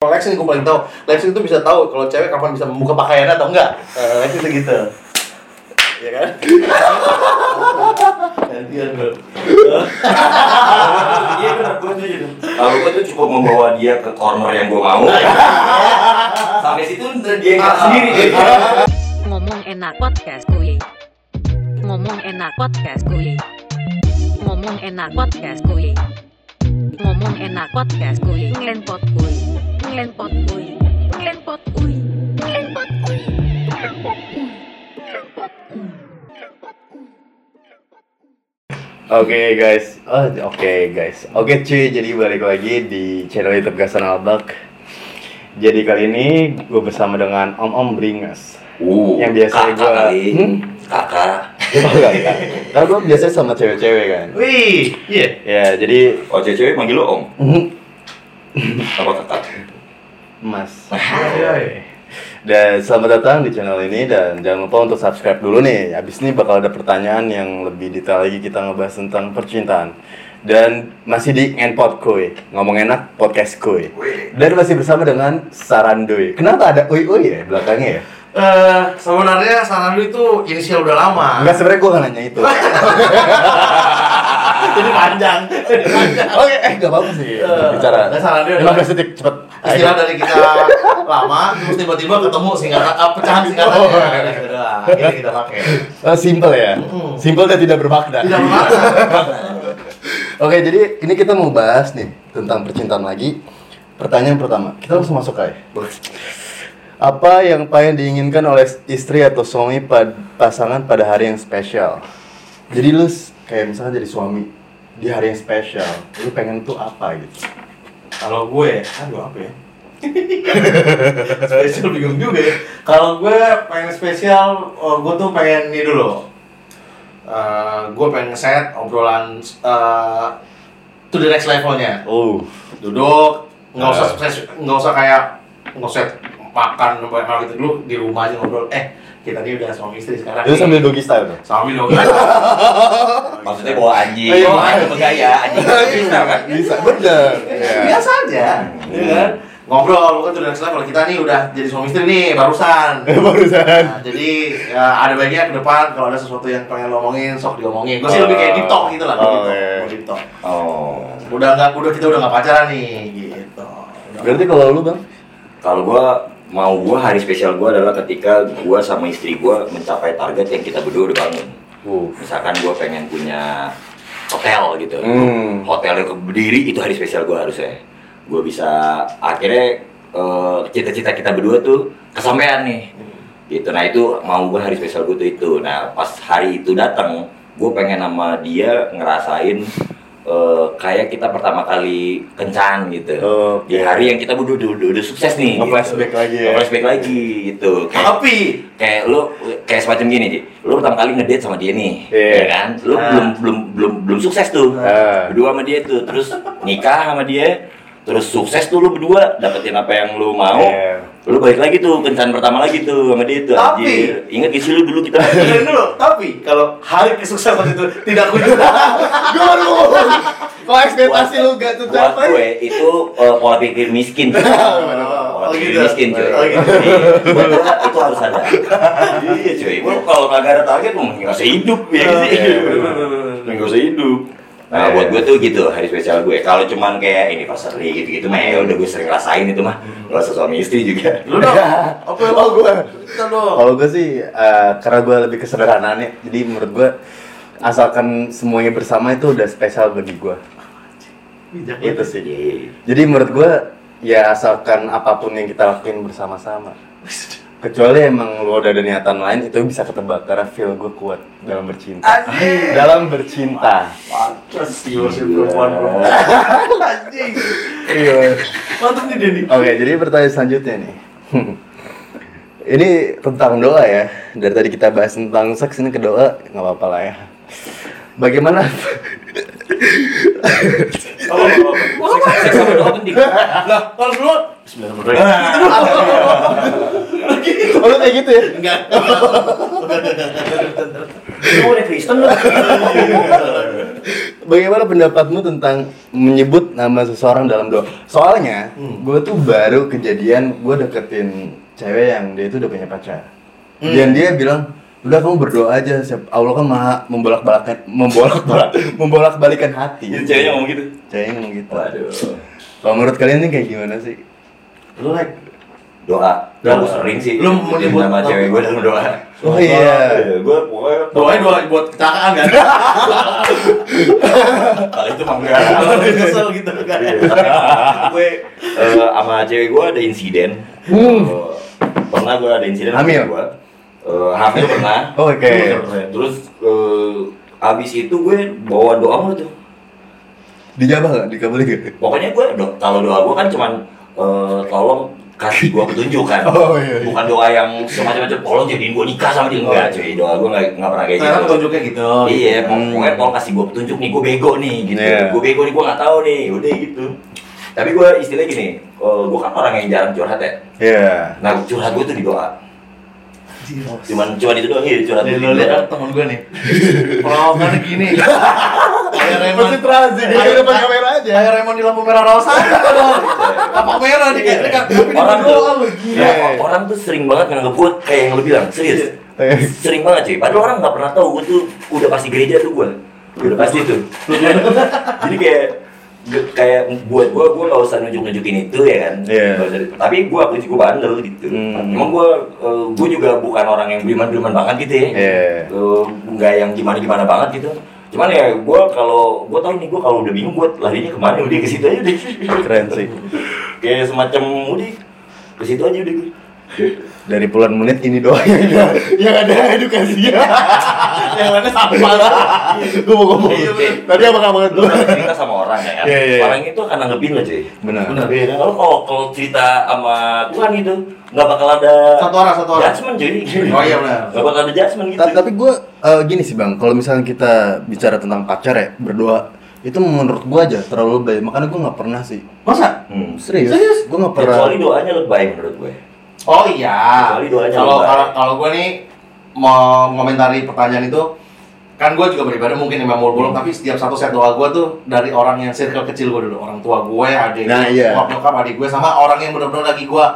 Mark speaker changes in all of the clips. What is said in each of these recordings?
Speaker 1: flexing gue paling tahu. Flexing itu bisa tahu kalau cewek kapan bisa membuka pakaiannya atau enggak. Eh, itu gitu. Iya kan? Gantian bro.
Speaker 2: Iya bener, gue setuju tuh.
Speaker 3: Kalau gue tuh cukup membawa dia ke corner yang gue mau. Sampai situ ntar dia nggak sendiri.
Speaker 4: Ngomong enak podcast kuy. Ngomong enak podcast kuy. Ngomong enak podcast kuy. Ngomong enak podcast kuy. Ngenpot kuy. Ngenpot kuy. Ngenpot kuy. Ngenpot kuy.
Speaker 5: Oke guys, Oh, oke guys, oke cuy, jadi balik lagi di channel YouTube Gasan Albak. Jadi kali ini gue bersama dengan Om Om Bringas.
Speaker 3: Uh,
Speaker 5: Yang biasa
Speaker 3: kakak
Speaker 5: gua-
Speaker 3: kali.
Speaker 5: Hmm?
Speaker 3: Kakak.
Speaker 5: Oh, enggak, enggak. Karena gue biasanya sama cewek-cewek kan.
Speaker 1: Wih, iya.
Speaker 5: Ya jadi
Speaker 3: Oh cewek panggil lo om.
Speaker 5: Mhm.
Speaker 3: Apa kakak?
Speaker 5: Mas. Dan selamat datang di channel ini dan jangan lupa untuk subscribe dulu nih. Abis ini bakal ada pertanyaan yang lebih detail lagi kita ngebahas tentang percintaan. Dan masih di Ngenpot Kuy, ngomong enak podcast Kuy. Dan masih bersama dengan Sarandoy. Kenapa ada oi oi ya belakangnya ya?
Speaker 1: Eh, sebenarnya saran lu itu inisial udah lama.
Speaker 5: Enggak sebenarnya gue nanya itu.
Speaker 1: Jadi panjang.
Speaker 5: Oke, eh enggak apa-apa sih. Bicara.
Speaker 1: Nah, Sarandoy adalah-
Speaker 5: 15 detik cepet.
Speaker 1: Istilah dari kita lama, terus tiba-tiba ketemu singkatan, ah, pecahan singkatannya.
Speaker 5: Oh.
Speaker 1: Nah, gitu doang. Ini kita pakai.
Speaker 5: Eh, simple ya.
Speaker 1: Mm-mm.
Speaker 5: Simple dan tidak bermakna.
Speaker 1: Tidak memaksa.
Speaker 5: Oke, jadi ini kita mau bahas nih tentang percintaan lagi. Pertanyaan pertama, kita langsung masuk aja. Apa yang paling diinginkan oleh istri atau suami pad- pasangan pada hari yang spesial? Jadi lu s- kayak misalnya jadi suami di hari yang spesial, lu pengen tuh apa gitu?
Speaker 2: Kalau gue, aduh apa ya? spesial bingung juga ya. Kalau gue pengen spesial, oh, gue tuh pengen ini dulu.
Speaker 1: Eh, gue pengen ngeset obrolan eh, to the next levelnya.
Speaker 5: Oh,
Speaker 1: Duduk, nggak usah
Speaker 5: Eh.
Speaker 1: sukses- nggak usah kayak ngoset makan makan gitu dulu di rumah aja ngobrol. Eh, kita ini udah suami istri sekarang.
Speaker 5: itu
Speaker 1: nih.
Speaker 5: sambil doggy style tuh.
Speaker 1: Suami dong.
Speaker 3: Maksudnya bawa anjing.
Speaker 5: Iya.
Speaker 3: Bawa anjing bergaya anjing. Bisa kan?
Speaker 5: Bisa, bener. Ya.
Speaker 1: biasa aja, ya kan? Ngobrol, bukan tuh next level. Kita nih udah jadi suami istri nih barusan.
Speaker 5: Iya, Barusan.
Speaker 1: Nah, jadi ya, ada baiknya ke depan kalau ada sesuatu yang pengen lo omongin, sok diomongin. Gue sih lebih kayak deep talk gitu lah, deep
Speaker 5: Oh,
Speaker 1: talk,
Speaker 5: iya.
Speaker 1: mau deep talk.
Speaker 3: Oh.
Speaker 1: Udah nggak, udah kita udah nggak pacaran nih, gitu.
Speaker 5: Berarti kalau lu, Bang?
Speaker 3: Kalau gua mau gua hari spesial gua adalah ketika gua sama istri gua mencapai target yang kita berdua udah bangun.
Speaker 5: Uh.
Speaker 3: Misalkan gua pengen punya hotel gitu.
Speaker 5: Hmm.
Speaker 3: Hotel yang berdiri itu hari spesial gua harusnya. Gua bisa akhirnya eh, cita-cita kita berdua tuh kesampaian nih. Gitu. Nah, itu mau gua hari spesial gua tuh itu. Nah, pas hari itu datang, gua pengen sama dia ngerasain eh, kayak kita pertama kali kencan gitu
Speaker 5: Oke.
Speaker 3: di hari yang kita udah udah, udah, udah sukses nih
Speaker 5: Nge-flashback lagi ya.
Speaker 3: flashback lagi gitu kayak
Speaker 1: Tapi
Speaker 3: kayak lo kayak semacam gini Ji. lo pertama kali ngedate sama dia nih
Speaker 5: Iya.
Speaker 3: ya kan lo
Speaker 1: Nah.
Speaker 3: belum belum belum belum sukses tuh
Speaker 5: Nah.
Speaker 3: berdua sama dia tuh terus nikah sama dia terus sukses tuh lo berdua dapetin apa yang lo mau
Speaker 5: Iya.
Speaker 3: lo balik lagi tuh kencan pertama lagi tuh sama dia tuh
Speaker 1: Tapi-
Speaker 3: anjir. ingat gak sih lo dulu kita
Speaker 1: dengerin dulu. Tapi kalau hari kesuksesan itu tidak kunjung datang,
Speaker 5: Gue baru mau ngomong. Kalau ekspektasi lu gak
Speaker 3: buat
Speaker 5: tercapai.
Speaker 3: gue itu uh, pola pikir miskin pola
Speaker 1: Oh,
Speaker 3: pikir
Speaker 1: gitu.
Speaker 3: miskin cuy
Speaker 1: Oh, gitu.
Speaker 3: Jadi, buat gue itu harus ada iya cuy gue kalau kagak ada target mau nggak sehidup ya gitu
Speaker 5: Iya,
Speaker 3: nggak sehidup nah buat gue tuh gitu hari spesial gue kalau cuman kayak ini gitu gitu mah ya udah gue sering rasain itu mah Gak usah suami istri juga
Speaker 1: lu dong. Apa
Speaker 5: Oh, gua. Oh,
Speaker 1: Kita dong.
Speaker 5: Kalau gue sih, eh, karena gue lebih kesederhanaan ya, jadi menurut gue asalkan semuanya bersama itu udah spesial bagi gue.
Speaker 1: Bijak
Speaker 5: Itu
Speaker 3: Gitu
Speaker 1: banget.
Speaker 5: sih. Jadi menurut gue, ya asalkan apapun yang kita lakuin bersama-sama. Kecuali emang lu udah ada niatan lain, itu bisa ketebak karena feel gue kuat dalam bercinta.
Speaker 1: Anjing.
Speaker 5: Dalam bercinta.
Speaker 1: Pantes sih masih perempuan perempuan. Anjing.
Speaker 5: Iya.
Speaker 1: Mantap nih Denny.
Speaker 5: Oke, jadi pertanyaan selanjutnya nih. ini tentang doa ya. Dari tadi kita bahas tentang seks ini ke doa, nggak apa-apa lah ya. Bagaimana?
Speaker 1: Apa apa?
Speaker 3: seks sama doa penting
Speaker 1: Lah, kalau dulu
Speaker 5: Oh, lu kayak gitu ya?
Speaker 1: enggak.
Speaker 3: lu udah Kristen lu
Speaker 5: Bagaimana pendapatmu tentang menyebut nama seseorang dalam doa? Soalnya,
Speaker 3: Hmm.
Speaker 5: gue tuh baru kejadian gue deketin cewek yang dia itu udah punya pacar.
Speaker 3: Hmm.
Speaker 5: Dan dia bilang, udah kamu berdoa aja, siap- Allah kan maha membolak balikan membolak balak membolak balikan hati.
Speaker 3: Itu ceweknya ngomong gitu.
Speaker 5: Ceweknya ngomong gitu.
Speaker 3: Waduh.
Speaker 5: Kalau menurut kalian ini kayak gimana sih?
Speaker 2: Lu like
Speaker 3: Doa.
Speaker 1: Doa.
Speaker 3: Doa sering sih.
Speaker 1: Lu mau nyebut-
Speaker 3: nama cewek gue dalam doa.
Speaker 5: Oh iya.
Speaker 3: Gue pokoknya
Speaker 1: Doain doa buat kecelakaan kan?
Speaker 3: Kalau itu mah enggak.
Speaker 1: Kalau lu kesel gitu kan.
Speaker 3: Iya. Gue eh, sama cewek gue ada insiden. Eh, pernah gue ada insiden sama
Speaker 5: Hmm. Hamil?
Speaker 3: cewek gua. Eh, hamil pernah.
Speaker 5: Oke.
Speaker 3: Terus eh, abis itu gue bawa doa mulu tuh.
Speaker 5: Dijabah nggak? Dikabulin nggak?
Speaker 3: Pokoknya gue do- kalau doa gue kan cuman eh, tolong kasih gue petunjuk kan.
Speaker 5: Oh, iya, Oh. iya.
Speaker 3: Bukan doa yang semacam-macam tolong jadiin gue nikah sama dia enggak cuy. Doa gue nggak nggak pernah kayak gitu.
Speaker 1: Ternyata tunjuknya gitu.
Speaker 3: iya,
Speaker 1: gitu.
Speaker 3: pokoknya tolong kasih gue petunjuk nih, gue bego nih gitu.
Speaker 5: Oh, Hmm. Iya.
Speaker 3: Gue bego nih, gue nggak tahu nih, udah gitu. Tapi gue istilahnya gini, eh, gue kan orang yang jarang curhat ya.
Speaker 5: Iya.
Speaker 3: Nah curhat gue tuh di doa. Cuman cuman itu doang ya curhat
Speaker 1: Nih,
Speaker 3: gue di
Speaker 1: lu lihat
Speaker 3: doa.
Speaker 1: kan temen gue nih. Perawakannya gini. Kayak Raymond.
Speaker 5: transit,
Speaker 1: dia depan
Speaker 5: kamera aja.
Speaker 1: Kayak Raymond di lampu merah rosa. Apa merah nih kayak dekat. Tapi dia
Speaker 3: Iya. Orang tuh,
Speaker 1: berdoa lu gila.
Speaker 3: ya, orang tuh sering banget nganggep gue kayak yang lu bilang, serius.
Speaker 5: Iya.
Speaker 3: Sering banget cuy, padahal orang nggak pernah tahu gue tuh udah pasti gereja tuh gue.
Speaker 5: Iya.
Speaker 3: Udah pasti tuh. Jadi kayak ge- kayak buat gue, gue nggak usah nunjuk-nunjukin itu ya kan.
Speaker 5: Iya.
Speaker 3: Nggak usah- Tapi gue aku juga bandel gitu.
Speaker 5: Hmm.
Speaker 3: Emang gue, gue juga bukan orang yang beriman-beriman banget gitu ya.
Speaker 5: Iya.
Speaker 3: Eh, nggak yang gimana-gimana banget gitu. Cuman ya gue kalau gue tau nih gue kalau udah bingung gue larinya kemana udah ke situ aja deh.
Speaker 5: Keren sih.
Speaker 3: kayak semacam udah ke situ aja udah gue.
Speaker 5: Dari puluhan menit ini doang yang ada, yang ada edukasinya.
Speaker 1: Yang lainnya sampah.
Speaker 5: Gue mau ngomong.
Speaker 3: Iya, bener.
Speaker 5: Tadi apa kamu
Speaker 3: Lu kalau cerita sama orang ya, kan?
Speaker 5: Iya, iya, iya.
Speaker 3: orang itu akan nanggepin lo cuy.
Speaker 5: Benar.
Speaker 1: Iya, Benar.
Speaker 3: Beda kalau kalau kalau cerita sama Tuhan gitu nggak bakal ada
Speaker 1: Satu orang, satu orang.
Speaker 3: judgement cuy.
Speaker 1: Oh iya, benar.
Speaker 3: Nggak bakal ada judgement gitu.
Speaker 5: Ta- Tapi gue gini sih bang, kalau misalnya kita bicara tentang pacar ya berdoa itu menurut gue aja terlalu lebay. Makanya gue nggak pernah sih.
Speaker 1: Masa?
Speaker 3: Hmm.
Speaker 5: Serius?
Speaker 1: Serius?
Speaker 5: Gue nggak pernah.
Speaker 3: Kecuali doanya lebay menurut ya. gue.
Speaker 1: Oh iya.
Speaker 3: Kecuali doanya
Speaker 1: Kalau
Speaker 3: lebay.
Speaker 1: kalau kalau gue nih mau komentari pertanyaan itu kan gue juga beribadah mungkin emang muluk-muluk tapi setiap satu set doa gue tuh dari orang yang circle kecil gue dulu orang tua gue adik
Speaker 5: Nah, iya.
Speaker 1: nyokap nyokap adik gue sama orang yang benar-benar lagi gue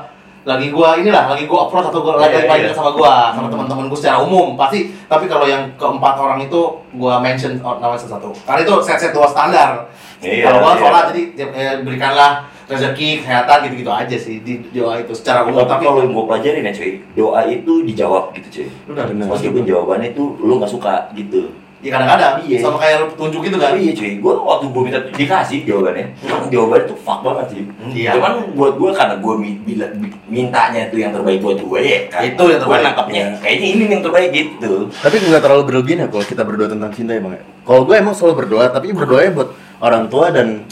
Speaker 1: lagi gue inilah lagi gue approach atau gue lagi
Speaker 3: Iya,
Speaker 1: lagi
Speaker 3: iya.
Speaker 1: sama gue sama teman-teman gue secara umum pasti tapi kalau yang keempat orang itu gue mention or- namanya satu karena itu set set doa standar
Speaker 3: Iya,
Speaker 1: kalau gue
Speaker 3: iya.
Speaker 1: sholat jadi eh, berikanlah rezeki kesehatan gitu-gitu aja sih di doa itu secara umum
Speaker 3: Tapi kalau yang gue pelajarin ya cuy, doa itu dijawab gitu cuy.
Speaker 1: Udah,
Speaker 5: Benar.
Speaker 3: Meskipun jawabannya itu lu nggak suka gitu.
Speaker 1: Ya kadang-kadang,
Speaker 3: Iya.
Speaker 1: sama kayak lu petunjuk gitu kan.
Speaker 3: Tapi iya cuy, gue waktu gue minta dikasih jawabannya, emang jawabannya tuh fuck banget sih.
Speaker 1: Iya.
Speaker 3: Cuman buat gue karena gue mi- bila- bi- mintanya itu yang terbaik buat gue ya. Kan?
Speaker 1: Itu yang terbaik.
Speaker 3: Gue nangkapnya, kayaknya ini yang terbaik gitu.
Speaker 5: Tapi nggak terlalu berlebihan ya kalau kita berdoa tentang cinta ya bang. ya? Kalau gue emang selalu berdoa, tapi berdoanya buat orang tua dan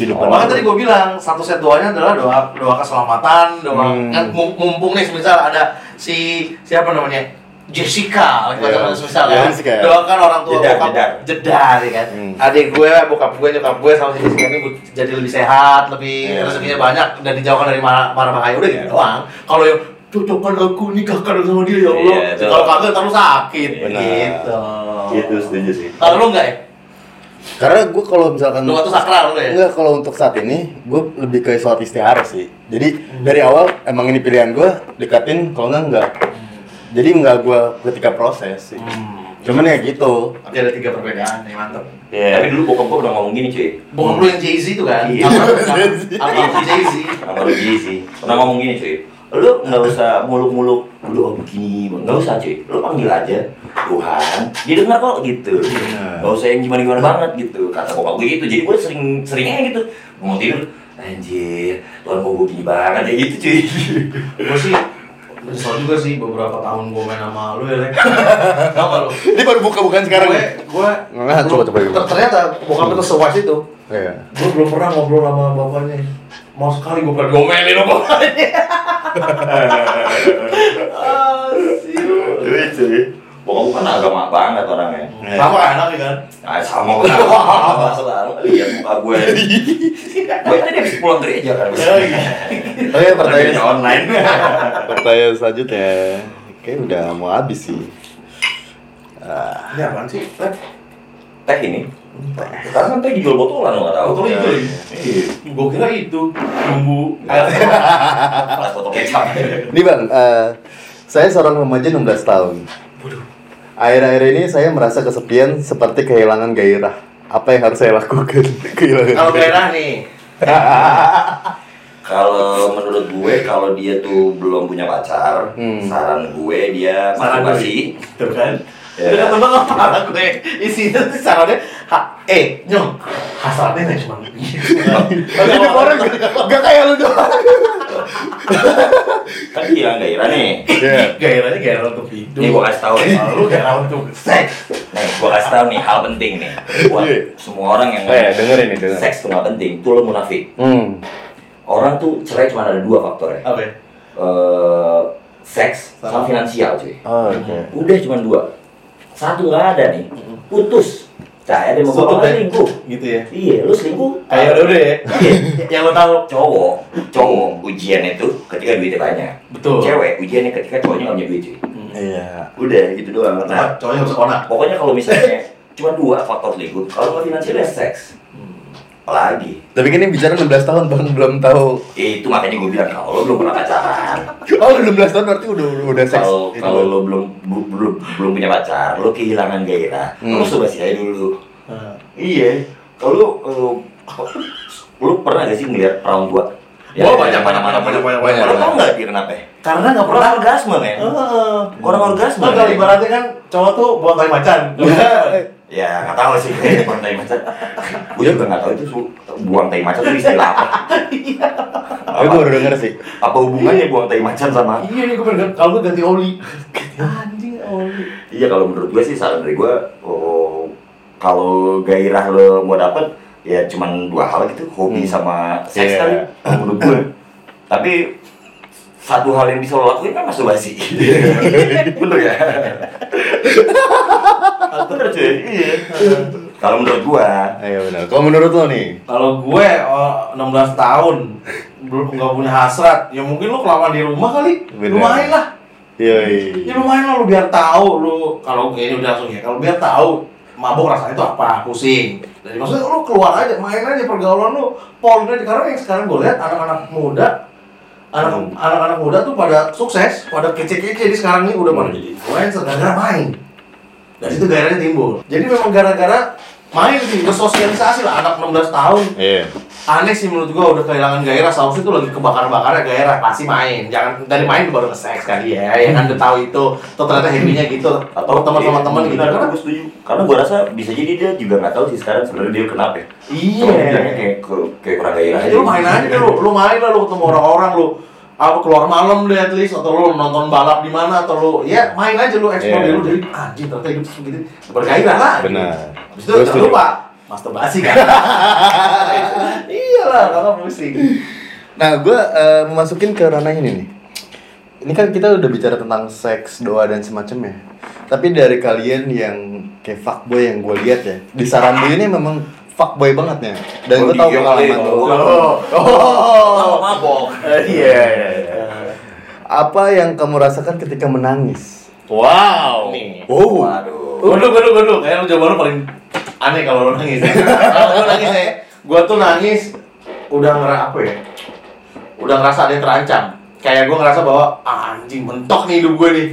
Speaker 5: kehidupan.
Speaker 1: Oh. Makanya tadi gue bilang, satu set doanya adalah doa doa keselamatan, doa
Speaker 5: Hmm.
Speaker 1: kan mum- mumpung nih misal ada si siapa namanya? Jessica, lagi
Speaker 5: Iya.
Speaker 1: pacaran semisal kan.
Speaker 5: Jessica.
Speaker 1: Doakan orang tua
Speaker 3: Jeddah,
Speaker 1: bokap
Speaker 3: jeddah.
Speaker 1: jeddah ya kan.
Speaker 5: Hmm.
Speaker 1: Adik gue, bokap gue, nyokap gue sama si Jessica ini bu- jadi lebih sehat, lebih
Speaker 5: Iya.
Speaker 1: rezekinya banyak dan dijauhkan dari mara mara bahaya udah gitu doang. Kalau yang cocokkan aku nikahkan sama dia ya Allah.
Speaker 3: Iya, itu.
Speaker 1: Kalau kagak terus sakit
Speaker 5: Benar.
Speaker 1: gitu.
Speaker 3: Gitu setuju sih.
Speaker 1: Kalau lu enggak ya?
Speaker 5: Karena gue kalau misalkan
Speaker 1: Doa tuh sakral lu ya?
Speaker 5: Enggak, kalau untuk saat ini gue lebih ke sholat istihara sih. Jadi dari awal emang ini pilihan gue dekatin kalau enggak enggak. Jadi enggak gue ketika proses sih.
Speaker 1: Hmm.
Speaker 5: Cuman ya gitu.
Speaker 1: Tapi ada tiga perbedaan nih mantep. Iya.
Speaker 3: Tapi dulu bokap gue udah ngomong gini cuy.
Speaker 1: Bokap lu yang Jay Z itu kan?
Speaker 3: Iya.
Speaker 1: Apa yang Jay Z?
Speaker 3: Sama Rudy sih. Pernah ngomong gini cuy. Lu nggak usah muluk-muluk doa begini, nggak usah cuy. Lu panggil aja Tuhan, didengar kok gitu. Nggak usah yang gimana-gimana banget gitu. Kata bokap gue gitu. Jadi gue sering seringnya gitu. Mau tidur, anjir, Tuhan mau gue gini banget ya gitu cuy.
Speaker 1: Gue sih menyesal juga sih beberapa tahun gue main sama lu ya Lek Tau gak lu?
Speaker 5: Ini baru buka bukan sekarang.
Speaker 1: Gue, gue
Speaker 5: Nah, coba, coba, coba.
Speaker 1: ter- Ternyata bokap itu sewise itu
Speaker 5: Iya.
Speaker 1: Gue belum pernah ngobrol sama bapaknya Mau sekali gue pernah diomelin sama bapaknya Ah, siul.
Speaker 3: Cuy, Iya, cuy. Bokap gue kan agama banget orangnya.
Speaker 1: Sama kan anaknya kan?
Speaker 3: Nah, sama gue sama selalu lihat muka gue. Gue tadi habis pulang gereja kan.
Speaker 5: Oke,
Speaker 3: Pertanyaan
Speaker 5: Oh iya, pertanyaan
Speaker 3: online.
Speaker 5: pertanyaan selanjutnya. Oke, udah mau habis sih.
Speaker 1: Ini apaan sih? Lek?
Speaker 3: Teh ini. Sekarang kan teh dijual botolan lo nggak tahu.
Speaker 1: Betul itu.
Speaker 3: Iya.
Speaker 1: Gue kira itu bumbu air
Speaker 3: Alas botol kecap.
Speaker 5: Ini bang, eh, saya seorang remaja 16 tahun. Akhir-akhir ini saya merasa kesepian seperti kehilangan gairah. Apa yang harus saya lakukan? kehilangan
Speaker 1: Kalau daerah nih,
Speaker 3: Kalau menurut gue kalau dia tuh belum punya pacar,
Speaker 5: Hmm.
Speaker 3: saran gue dia
Speaker 1: Saran
Speaker 3: masturbasi.
Speaker 1: tuh kan.
Speaker 3: Iya.
Speaker 1: Udah ketebak apa lah gue isinya tuh sarannya ha, eh nyong hasratnya nih cuma gitu.
Speaker 5: Ini orang gak, gak kayak lu doang.
Speaker 3: Kan dia nggak ira nih.
Speaker 5: Iya.
Speaker 1: gairahnya gairah untuk hidup
Speaker 3: Nih gue kasih tahu. nih.
Speaker 1: Kalau lu gairah untuk seks
Speaker 3: Nih gue kasih tahu nih hal penting nih buat
Speaker 5: Iya.
Speaker 3: semua orang yang
Speaker 5: Eh, dengerin nih, dengerin.
Speaker 3: seks tuh nggak penting, tuh lo munafik.
Speaker 5: Hmm.
Speaker 3: Orang tuh cerai cuma ada dua faktor ya.
Speaker 1: apa ya?
Speaker 3: Eh, seks sama finansial cuy.
Speaker 5: Oh, oke.
Speaker 3: Udah cuma dua. Satu nggak ada nih. Putus. Cahaya dia mau
Speaker 1: Sutut
Speaker 3: ngomong
Speaker 1: ya?
Speaker 3: selingkuh.
Speaker 1: gitu ya
Speaker 3: Iya, lu selingkuh.
Speaker 1: kayak udah udah ya
Speaker 3: Iya.
Speaker 1: yang lo tahu
Speaker 3: cowok cowok ujiannya itu ketika duitnya banyak
Speaker 1: betul
Speaker 3: cewek ujiannya ketika cowoknya nggak punya duit cuy
Speaker 5: Iya.
Speaker 3: udah gitu doang nah
Speaker 1: nah cowoknya harus onak
Speaker 3: pokoknya kalau misalnya cuma dua faktor selingkuh kalau nggak finansial ya seks apalagi
Speaker 5: Tapi kan ini bicara 16 tahun bang, belum tahu.
Speaker 3: Eh, itu makanya gue bilang kalau lo belum pernah pacaran
Speaker 5: Oh, 16 tahun berarti udah udah, udah seks.
Speaker 3: kalau
Speaker 5: Itu.
Speaker 3: kalau lo belum bu- belum belum punya pacar lo kehilangan gairah
Speaker 5: Hmm.
Speaker 3: lo coba sih aja dulu
Speaker 1: Nah,
Speaker 3: iya kalau lo eh, lo pernah gak sih ngeliat perawan gua
Speaker 1: Gua banyak, banyak, banyak, banyak, banyak,
Speaker 3: Lo tau
Speaker 1: banyak.
Speaker 3: nggak dia kenapa?
Speaker 1: karena nggak pernah Oh.
Speaker 3: Pernah orgasme men.
Speaker 1: Heeh.
Speaker 3: Orang orgasme.
Speaker 1: Nah, kalau ibaratnya kan cowok tuh buang kali macan
Speaker 3: Ya nggak tahu sih kayaknya buang tai macan. Gue juga nggak tahu itu su- buang tai macan itu istilah apa.
Speaker 5: Tapi gue baru denger sih.
Speaker 3: Apa hubungannya buang tai macan sama?
Speaker 1: iya nih gue bener kalau gue ganti oli anjing oli
Speaker 3: Iya kalau menurut gue sih saran dari gue, oh, kalau gairah lo mau dapet ya cuman dua hal gitu, hobi
Speaker 5: Hmm.
Speaker 3: sama seks
Speaker 5: Iya.
Speaker 3: kali. kalau Menurut gue. Tapi satu hal yang bisa lo lakuin kan masturbasi. Bener ya? Bener cuy. Iya. Kalau menurut gue,
Speaker 5: Ayo Ah, iya, benar. Kalau menurut lo nih?
Speaker 1: kalau gue oh, 16 tahun belum nggak punya hasrat ya mungkin lu kelamaan di rumah kali
Speaker 5: Bener.
Speaker 1: lumayan lah
Speaker 5: Iya.
Speaker 1: ya lumayan lah lu biar tahu lu kalau ini udah langsung ya kalau biar tahu mabuk rasanya itu apa pusing jadi maksudnya lu keluar aja main aja pergaulan lu polnya karena yang sekarang gue lihat anak-anak muda anak anak-anak muda tuh pada sukses pada kece-kece jadi sekarang ini udah pada jadi influencer gara-gara main dari situ gairahnya timbul jadi memang gara-gara main sih bersosialisasi lah anak 16 tahun
Speaker 5: Iya.
Speaker 1: aneh sih menurut gua udah kehilangan gairah sausnya itu lagi kebakar-bakarnya ya, gairah pasti main jangan dari main baru ke seks kali ya ya kan udah tahu itu tuh ternyata happy-nya gitu atau teman sama teman gitu
Speaker 5: Iya.
Speaker 3: karena
Speaker 1: kan
Speaker 3: gue setuju karena gue rasa bisa jadi dia juga nggak tahu sih sekarang sebenarnya dia kenapa ya Cuma dia bilangnya
Speaker 1: iya
Speaker 3: kayak ke, kayak kurang gairah
Speaker 1: lu Iya. main aja deh, lu lu main lah lu ketemu orang-orang lu apa keluar malam deh at least atau lu nonton balap di mana atau lu ya main aja lu explore
Speaker 5: Iya.
Speaker 1: dulu jadi anjing ternyata hidup segitu bergairah lah
Speaker 5: Benar.
Speaker 1: Habis itu
Speaker 5: Gua
Speaker 1: jangan
Speaker 5: setuju.
Speaker 1: lupa masturbasi kan iyalah kalau pusing
Speaker 5: Nah, gue eh, memasukin ke ranah ini nih. Ini kan kita udah bicara tentang seks, doa dan semacamnya. Tapi dari kalian yang kayak fuckboy yang gue lihat ya, di Sarambu ini memang fuckboy banget ya. Dan
Speaker 3: Oh,
Speaker 5: gue tahu
Speaker 3: dia
Speaker 5: pengalaman
Speaker 3: kali,
Speaker 5: lo.
Speaker 1: oh
Speaker 3: oh mabok
Speaker 5: Iya. Apa yang kamu rasakan ketika menangis?
Speaker 1: wow
Speaker 5: Oh.
Speaker 3: waduh
Speaker 1: Waduh, waduh, waduh. Kayaknya lu jawaban lu paling aneh kalau lu nangis. kalau gua nangis ya, gua tuh nangis udah ngera apa ya? Udah ngerasa ada yang terancam. Kayak gua ngerasa bahwa "Ah, anjing mentok nih hidup gue nih.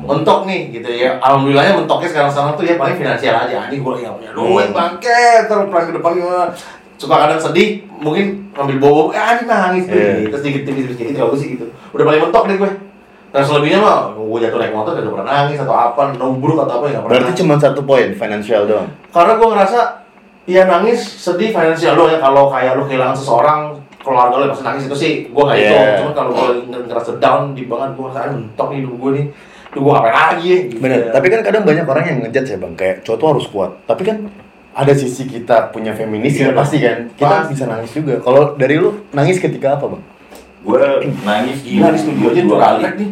Speaker 1: Mentok nih gitu ya. Alhamdulillahnya mentoknya sekarang sekarang tuh ya paling finansial aja. Anjing gua nggak punya duit
Speaker 3: Hmm.
Speaker 1: bangke. Terus pelan ke depan gimana? Suka kadang sedih, mungkin ngambil bobo, eh anjing nangis nih.
Speaker 5: Iya.
Speaker 1: Terus dikit dikit dikit dikit kalau gua sih gitu. Udah paling mentok deh gue. Nah selebihnya mah gue jatuh naik motor gak pernah nangis atau apa, nombruk atau apa ya gak pernah.
Speaker 5: Berarti cuma satu poin, financial doang.
Speaker 1: karena gue ngerasa ya nangis sedih finansial lo ya kalau kayak lo kehilangan seseorang keluarga lo yang pasti nangis itu sih gue nggak hitung
Speaker 5: Yeah.
Speaker 1: cuma kalau gue ngerasa down di banget gue ngerasa "Ah, mentok nih hidup gue nih Duh gue ngapain lagi ya gitu
Speaker 5: Bener,
Speaker 1: ya.
Speaker 5: tapi kan kadang banyak orang yang ngejat ya bang, kayak cowok tuh harus kuat. Tapi kan ada sisi kita punya feminis
Speaker 1: Iya,
Speaker 5: ya pasti kan, kita
Speaker 1: Pasti.
Speaker 5: bisa nangis juga. Kalau dari lu nangis ketika apa bang?
Speaker 3: gue nangis
Speaker 1: gila
Speaker 3: gila
Speaker 1: di
Speaker 3: di
Speaker 1: studio
Speaker 3: studionya
Speaker 1: aja
Speaker 3: dua
Speaker 1: dua
Speaker 3: kali
Speaker 1: nih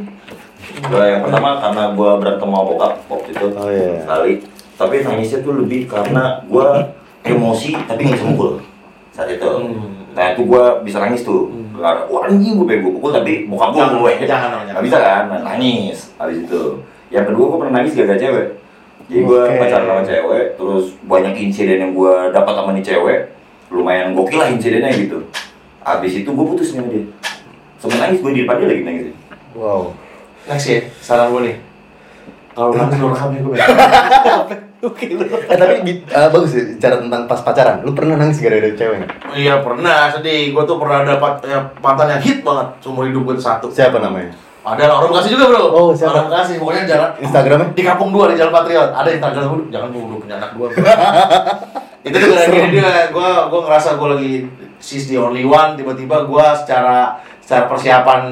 Speaker 3: Gua yang pertama karena gue berantem sama bokap waktu itu
Speaker 5: Oh, iya.
Speaker 3: sekali tapi nangisnya tuh lebih karena gue emosi tapi nggak bisa mukul saat itu
Speaker 1: Hmm.
Speaker 3: nah itu gue bisa nangis tuh
Speaker 1: Hmm. Nah, ya.
Speaker 3: karena wah anjing gue pengen gue pukul tapi bokap "Eh, gue
Speaker 1: Jangan, eh,
Speaker 3: gue
Speaker 1: jangan, jangan.
Speaker 3: nggak bisa kan nah, nangis habis itu yang kedua gue pernah nangis gara-gara cewek Jadi gue
Speaker 5: Oke.
Speaker 3: pacaran sama cewek, terus banyak insiden yang gue dapat sama nih cewek, lumayan gokil lah insidennya gitu. Abis itu gue putus nih sama dia. Sampai nangis gue di depan dia lagi nangis.
Speaker 5: Wow.
Speaker 1: Next ya, saran gue nih. Kalau nanti lo rekam nih gue beda.
Speaker 5: Eh, tapi di- eh, bagus sih cara tentang pas pacaran. Lu pernah nangis gara-gara cewek nggak?
Speaker 1: Iya pernah sedih, gue tuh pernah dapat eh, mantan yang hit banget seumur hidup gue satu.
Speaker 5: Siapa namanya?
Speaker 1: Padahal orang Bekasi juga bro.
Speaker 5: Oh, siapa?
Speaker 1: Orang Bekasi, pokoknya jalan
Speaker 5: Instagramnya?
Speaker 1: di kampung dua di Jalan Patriot. Ada Instagram gue, jangan gue udah punya anak dua. Bro. itu tuh gara-gara dia, gue gue ngerasa gue lagi she's the only one. Tiba-tiba gue secara secara persiapan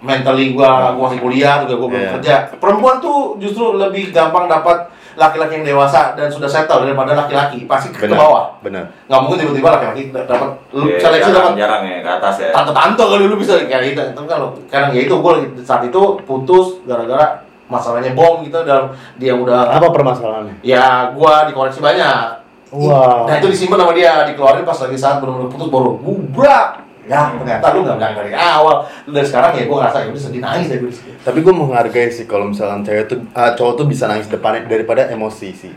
Speaker 1: mentally gue gue masih kuliah juga gue belum
Speaker 5: Iya.
Speaker 1: kerja. Perempuan tuh justru lebih gampang dapat laki-laki yang dewasa dan sudah settle daripada laki-laki pasti ke
Speaker 5: Benar.
Speaker 1: bawah
Speaker 5: Benar.
Speaker 1: nggak mungkin tiba-tiba laki-laki d- dapat lu
Speaker 3: Iya,
Speaker 1: seleksi dapat
Speaker 3: jarang ya ke atas ya.
Speaker 1: tante-tante kali lu bisa kayak gitu tapi kalau karena ya itu gue saat itu putus gara-gara masalahnya bom gitu dan dia udah
Speaker 5: Apa permasalahannya?
Speaker 1: ya gua dikoreksi banyak
Speaker 5: Wow.
Speaker 1: nah itu disimpan sama dia dikeluarin pas lagi saat belum putus baru bubrak ya ternyata lu nggak bilang dari awal Lu dari sekarang ya gue ngerasa ya udah sedih nangis ya gue di situ.
Speaker 5: Tapi gue menghargai sih kalau misalkan cewek tuh ah, cowok tuh bisa nangis depannya daripada emosi sih.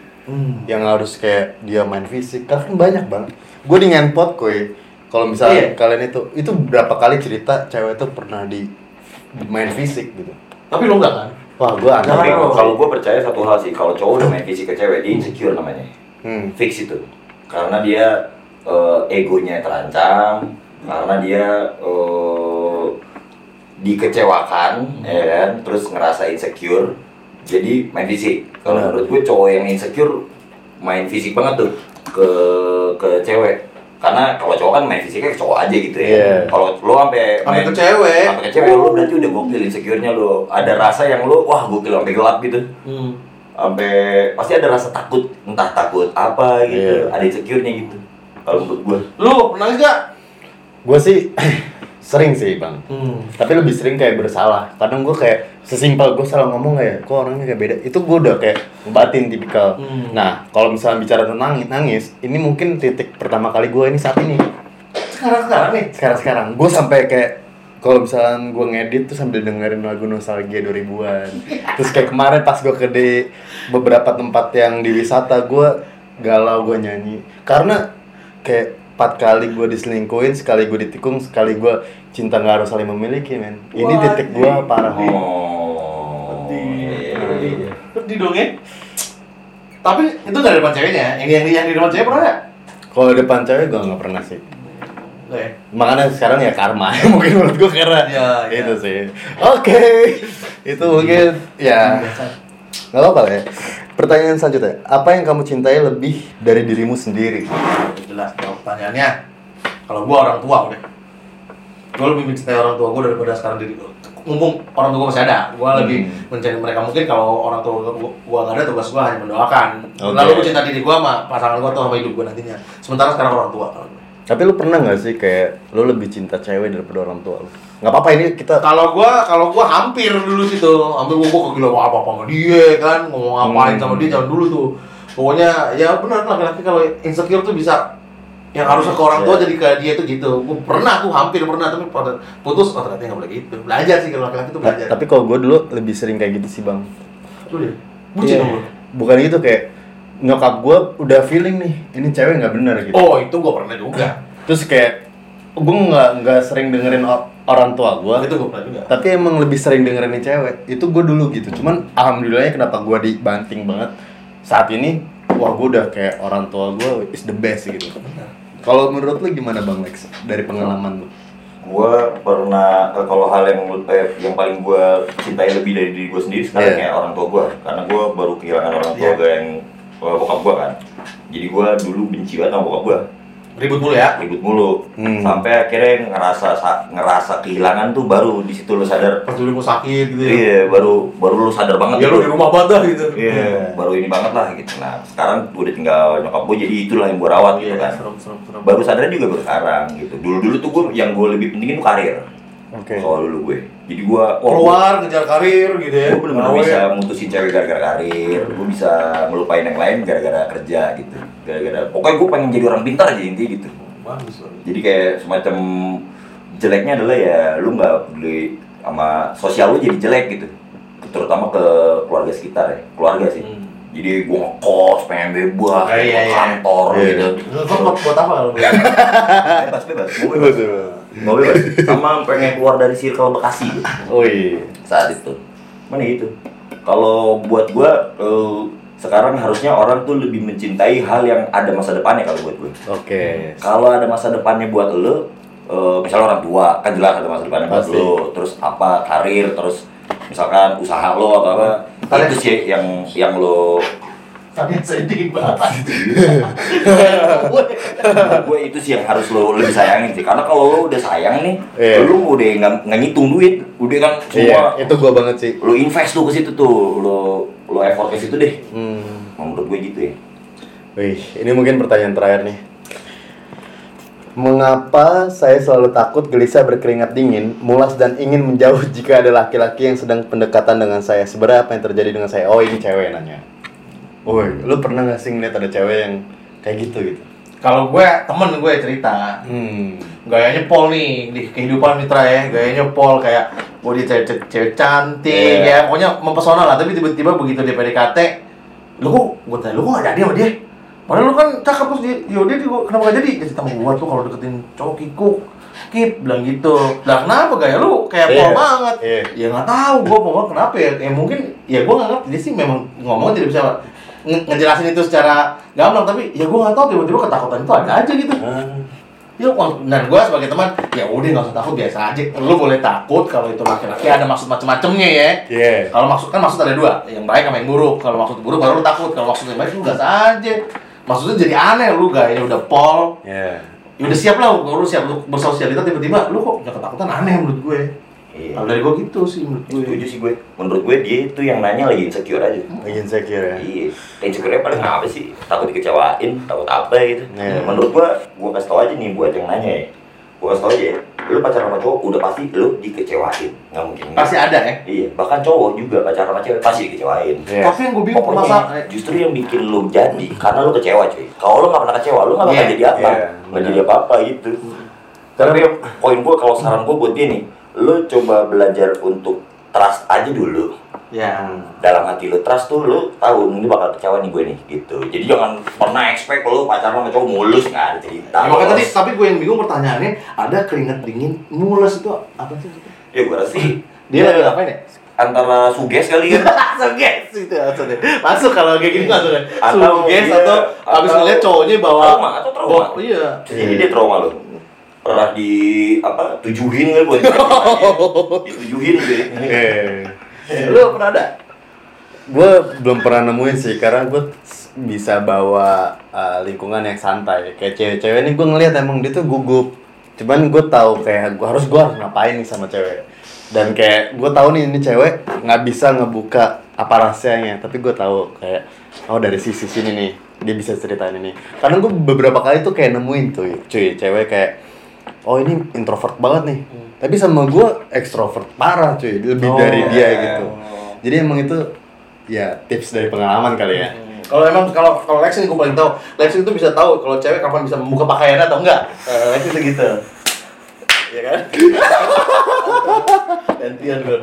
Speaker 5: Yang harus kayak dia main fisik. Karena kan banyak banget. Gue di ngenpot koi. Kalau misalnya
Speaker 1: Iya.
Speaker 5: kalian itu itu berapa kali cerita cewek tuh pernah di main fisik gitu.
Speaker 1: tapi lu nggak kan
Speaker 5: Wah, gue aneh.
Speaker 1: Jangan.
Speaker 3: Tapi
Speaker 1: Jarang.
Speaker 3: kalau gue percaya satu hal sih, kalau cowok udah main fisik ke cewek, dia insecure namanya.
Speaker 5: Hmm.
Speaker 3: Fix itu. Karena dia eh, egonya terancam, karena dia eh, dikecewakan, ya kan? terus ngerasa insecure. Jadi main fisik. Kalau
Speaker 5: Benar.
Speaker 3: menurut gue cowok yang insecure main fisik banget tuh ke ke cewek. Karena kalau cowok kan main fisiknya ke cowok aja gitu ya.
Speaker 5: Iya.
Speaker 3: Kalau lo sampai
Speaker 1: Sampai
Speaker 3: main-
Speaker 1: ke cewek.
Speaker 3: sampai ke cewek lo berarti udah gokil insecure-nya lo. Ada rasa yang lo wah gokil sampai gelap gitu
Speaker 1: hmm.
Speaker 3: sampai pasti ada rasa takut entah takut apa gitu
Speaker 5: Iya.
Speaker 3: ada insecure-nya gitu kalau menurut gue
Speaker 1: lu nangis gak
Speaker 5: Gue sih sering sih, Bang.
Speaker 1: hmm.
Speaker 5: tapi lebih sering kayak bersalah kadang gue kayak sesimpel gue salah ngomong kayak kok orangnya kayak beda itu gue udah kayak batin tipikal
Speaker 1: Hmm.
Speaker 5: nah kalau misalnya bicara tentang nangis, nangis ini mungkin titik pertama kali gue ini saat ini
Speaker 1: sekarang sekarang nih
Speaker 5: sekarang sekarang gue sampai kayak kalau misalnya gue ngedit tuh sambil dengerin lagu nostalgia 2000-an terus kayak kemarin pas gue ke di beberapa tempat yang di wisata gue galau gue nyanyi karena kayak empat kali gue diselingkuhin sekali gue ditikung sekali gue cinta nggak harus saling memiliki men ini titik gue parah nih
Speaker 3: oh iya.
Speaker 1: pedih dong ya tapi itu gak ada depan ceweknya yang yang, yang di depan cewek pernah nggak?
Speaker 5: kalau depan cewek gue nggak pernah sih
Speaker 1: Nggak ya
Speaker 5: makanya sekarang ya karma mungkin menurut gue karena
Speaker 1: Iya, iya.
Speaker 5: itu sih oke itu mungkin ya nggak apa-apa lah ya pertanyaan selanjutnya apa yang kamu cintai lebih dari dirimu sendiri
Speaker 1: jelas jawab pertanyaannya kalau gua orang tua udah gua lebih mencintai orang tua gua daripada sekarang diri gua mumpung orang tua gua masih ada gua lebih mencari mereka mungkin kalau orang tua gua, gua gak ada tugas gua hanya mendoakan
Speaker 5: Oke.
Speaker 1: lalu gua cinta diri gua sama pasangan gua atau sama hidup gua nantinya sementara sekarang orang tua kalau gua.
Speaker 5: tapi lu pernah nggak sih kayak lu lebih cinta cewek daripada orang tua lu nggak apa-apa ini kita
Speaker 1: kalau gua kalau gua hampir dulu situ hampir gua, gua kegila apa apa sama dia kan ngomong ngapain sama
Speaker 3: Hmm.
Speaker 1: dia jangan dulu tuh pokoknya ya benar laki-laki kalau insecure tuh bisa yang
Speaker 3: Hmm,
Speaker 1: harusnya ke orang tua
Speaker 3: iya.
Speaker 1: jadi ke dia tuh gitu gua pernah tuh hampir pernah tapi pada putus oh ternyata nggak boleh gitu belajar sih kalau laki-laki tuh
Speaker 5: Ta-
Speaker 1: belajar
Speaker 5: Nah, tapi kalau gue dulu lebih sering kayak gitu sih bang
Speaker 1: Tuh dia, bucin
Speaker 5: Iya.
Speaker 1: dong lu.
Speaker 5: bukan gitu kayak nyokap gue udah feeling nih ini cewek nggak bener gitu
Speaker 1: oh itu gua pernah juga
Speaker 5: terus kayak gue nggak nggak sering dengerin o- orang tua gue
Speaker 1: itu gua pernah juga
Speaker 5: tapi emang lebih sering dengerin nih cewek itu gue dulu gitu cuman alhamdulillahnya kenapa gue dibanting banget saat ini wah gue udah kayak orang tua gue is the best gitu kalau menurut lu gimana bang Lex dari pengalaman lu
Speaker 3: gue pernah eh, kalau hal yang menurut eh, yang paling gue cintai lebih dari diri gue sendiri sekarang
Speaker 5: Iya.
Speaker 3: ya orang tua gue karena gue baru kehilangan orang tua
Speaker 1: Iya.
Speaker 3: gue yang eh, bokap gue kan jadi gue dulu benci banget sama bokap gue
Speaker 1: ribut mulu ya
Speaker 3: ribut mulu
Speaker 5: Hmm.
Speaker 3: sampai akhirnya ngerasa sa- ngerasa kehilangan tuh baru di situ lo sadar
Speaker 1: pas dulu gua sakit gitu ya
Speaker 3: iya baru baru lo sadar banget
Speaker 1: ya lu
Speaker 3: gitu.
Speaker 1: di rumah banget dah gitu
Speaker 3: Iya, baru ini banget lah gitu. Nah, sekarang gue udah tinggal nyokap gue, jadi itulah yang gue rawat gitu kan.
Speaker 1: Iya serem serem serem
Speaker 3: Baru sadarnya juga baru sekarang gitu. Dulu-dulu tuh gue yang gue lebih pentingin tuh karir.
Speaker 5: oke
Speaker 3: Kalau dulu gue, jadi gue
Speaker 1: keluar ngejar karir gitu ya Hmm.
Speaker 3: gue bener-bener
Speaker 1: Gawe.
Speaker 3: bisa mutusin cewek gara-gara karir. Gue bisa ngelupain yang lain gara-gara kerja gitu. Gara-gara pokoknya gue pengen jadi orang pintar aja intinya gitu.
Speaker 1: bagus bagus
Speaker 3: Jadi kayak semacam jeleknya adalah ya lu nggak peduli sama sosial lu jadi jelek gitu. Terutama ke keluarga sekitar ya, keluarga sih.
Speaker 1: Hmm.
Speaker 3: jadi gue ngekos pengen bebas
Speaker 2: Oh, iya, iya.
Speaker 3: ke kantor
Speaker 5: Iya.
Speaker 3: gitu
Speaker 2: Lu kan buat, buat apa lu?
Speaker 3: bebas bebas gue bebas mau bebas sama pengen keluar dari circle Bekasi gitu,
Speaker 5: Wih.
Speaker 3: saat itu mana gitu kalau buat gue sekarang harusnya orang tuh lebih mencintai hal yang ada masa depannya kalau buat gue
Speaker 5: Oke.
Speaker 3: kalau ada masa depannya buat lo misalnya orang tua kan jelas ada masa depannya buat
Speaker 5: Pasti.
Speaker 3: lo terus apa karir terus misalkan usaha lo atau apa
Speaker 1: Karir.
Speaker 3: itu sih yang yang lo
Speaker 1: Tapi sedih banget.
Speaker 3: gue itu sih yang harus lo lebih sayangin sih karena kalau lo udah sayang nih
Speaker 5: Iya.
Speaker 3: lo udah nggak nggak ngitung duit udah kan semua
Speaker 5: Iya, itu gua banget sih.
Speaker 3: lo invest tuh ke situ tuh lo lo effort ke situ deh
Speaker 5: Hmm.
Speaker 3: Emang menurut gue gitu ya
Speaker 5: Wih, ini mungkin pertanyaan terakhir nih. Mengapa saya selalu takut gelisah berkeringat dingin, mulas dan ingin menjauh jika ada laki-laki yang sedang pendekatan dengan saya? Sebenarnya apa yang terjadi dengan saya? Oh, ini cewek nanya. Woi, lu pernah gak sih ngeliat ada cewek yang kayak gitu gitu?
Speaker 1: Kalau gue temen gue cerita,
Speaker 5: Hmm.
Speaker 1: gayanya Paul nih di kehidupan Mitra ya gayanya Paul kayak oh dia cewek, cewek- cewek cantik
Speaker 5: Iya.
Speaker 1: ya pokoknya mempesona lah tapi tiba-tiba begitu dia PDKT lu kok gue tanya lu kok gak jadi sama dia padahal lu kan cakep terus dia yaudah dia gua- kenapa gak jadi dia cerita sama gue tuh kalau deketin cowok kikuk kip bilang gitu lah kenapa gaya lu kayak
Speaker 5: Iya.
Speaker 1: Paul banget
Speaker 5: Iya.
Speaker 1: ya nggak tahu gue Paul kenapa ya ya mungkin ya gue nggak ngerti dia sih memang ngomong tidak bisa nge- ngejelasin itu secara gamblang tapi ya gue nggak tahu tiba-tiba ketakutan itu ada aja gitu Ya, wah, dan gue sebagai teman, ya udah nggak usah takut biasa aja. Lu boleh takut kalau itu laki-laki ada maksud macam-macamnya ya.
Speaker 5: Iya.
Speaker 1: Kalau maksud kan maksud ada dua, yang baik sama yang buruk. Kalau maksud buruk baru lu takut. Kalau maksud yang baik lu gas aja. Maksudnya jadi aneh lu gayanya udah pol.
Speaker 5: Iya.
Speaker 1: Ya udah siap lah, lu siap lu bersosialita tiba-tiba lu kok punya ketakutan aneh menurut gue.
Speaker 3: Iya.
Speaker 1: Kalau dari gue gitu sih menurut
Speaker 3: setuju
Speaker 1: gue.
Speaker 3: sih gue menurut gue dia itu yang nanya lagi insecure aja
Speaker 5: Lagi insecure ya.
Speaker 3: Iya, insecure paling apa sih? Takut dikecewain, takut apa gitu.
Speaker 1: Nah.
Speaker 5: Iya.
Speaker 3: Menurut gua, gua kasih tau aja nih buat yang nanya ya. Gua kasih tau aja ya, lu pacaran sama cowok udah pasti lu dikecewain, nggak mungkin. enggak.
Speaker 1: Pasti ada ya.
Speaker 3: Iya, bahkan cowok juga pacaran sama cewek pasti dikecewain.
Speaker 5: Iya.
Speaker 1: Tapi yang gue bingung
Speaker 3: Pokoknya
Speaker 1: permasalahan
Speaker 3: justru yang bikin lu jadi karena lu kecewa cuy. Kalau lu nggak pernah kecewa, lu nggak bakal
Speaker 1: Iya,
Speaker 3: jadi apa?
Speaker 5: iya,
Speaker 3: Nggak
Speaker 5: benar.
Speaker 3: jadi apa-apa gitu. Tapi yang poin gua kalau saran gua buat dia nih, lu coba belajar untuk trust aja dulu
Speaker 5: Iya.
Speaker 1: ya.
Speaker 3: dalam hati lu trust tuh lu tahu ini bakal kecewa nih gue nih gitu jadi jangan pernah expect lu pacaran sama cowok mulus nggak ada cerita
Speaker 1: Ya, makanya tadi, tapi gue yang bingung pertanyaannya, ada keringat dingin, mules itu apa sih?
Speaker 3: ya gue rasa sih
Speaker 1: Dia lagi ngapain ya?
Speaker 3: antara suges kali ya
Speaker 1: suges itu maksudnya masuk kalau kayak gini maksudnya
Speaker 3: Atau
Speaker 1: suges
Speaker 3: iya,
Speaker 1: atau habis
Speaker 3: atau
Speaker 1: ngeliat cowoknya bawa
Speaker 3: trauma atau trauma.
Speaker 1: bawa- iya
Speaker 3: jadi dia trauma lu pernah di apa tujuhin kan buat ditujuhin gitu ya. gue
Speaker 5: Iya.
Speaker 1: lu pernah ada
Speaker 5: gue belum pernah nemuin sih karena gue bisa bawa uh, lingkungan yang santai kayak cewek-cewek ini gue ngeliat emang dia tuh gugup cuman gue tahu kayak gue harus gue harus ngapain nih sama cewek dan kayak gue tahu nih ini cewek nggak bisa ngebuka apa rahasianya tapi gue tahu kayak oh dari sisi sini nih dia bisa ceritain ini karena gue beberapa kali tuh kayak nemuin tuh cuy cewek kayak oh ini introvert banget nih tapi sama gue ekstrovert parah cuy lebih dari dia gitu jadi emang itu ya tips dari pengalaman kali ya.
Speaker 1: kalau emang kalau kalau Lexi gue paling tahu Lexi itu bisa tahu kalau cewek kapan bisa membuka pakaiannya atau enggak Eh, Lexi itu gitu Iya kan? Gantian bro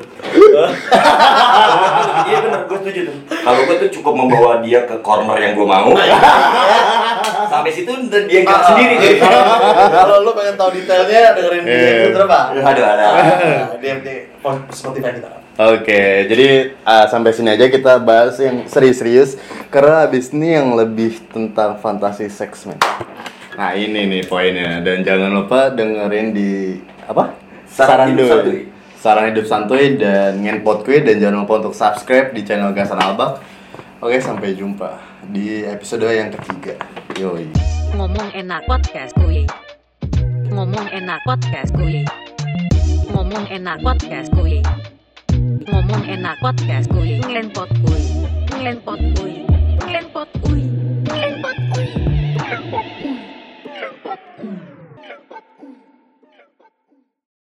Speaker 3: iya bener gue setuju tuh kalau gue tuh cukup membawa dia ke corner yang gue mau sampai situ ntar dia gerak sendiri
Speaker 1: Iya.
Speaker 3: jadi
Speaker 1: Kalau lu pengen tahu detailnya dengerin
Speaker 5: Iya.
Speaker 1: dia Putra Pak
Speaker 3: aduh ada
Speaker 1: Nah, Dia di Spotify kita
Speaker 5: Oke, jadi ah, sampai sini aja kita bahas yang serius-serius karena abis ini yang lebih tentang fantasi seks men. Nah ini nih poinnya dan jangan lupa dengerin di apa?
Speaker 3: Saran Hidup
Speaker 5: Doi.
Speaker 3: Santuy.
Speaker 5: Saran hidup santuy dan ngenpot kue dan jangan lupa untuk subscribe di channel Gasan Albak. Oke sampai jumpa di episode yang ketiga. Yoi.
Speaker 4: Ngomong enak podcast kuy. Ngomong enak podcast kuy. Ngomong enak podcast kuy. Ngomong enak podcast kuy. Ngenpot kuy. Ngenpot kuy.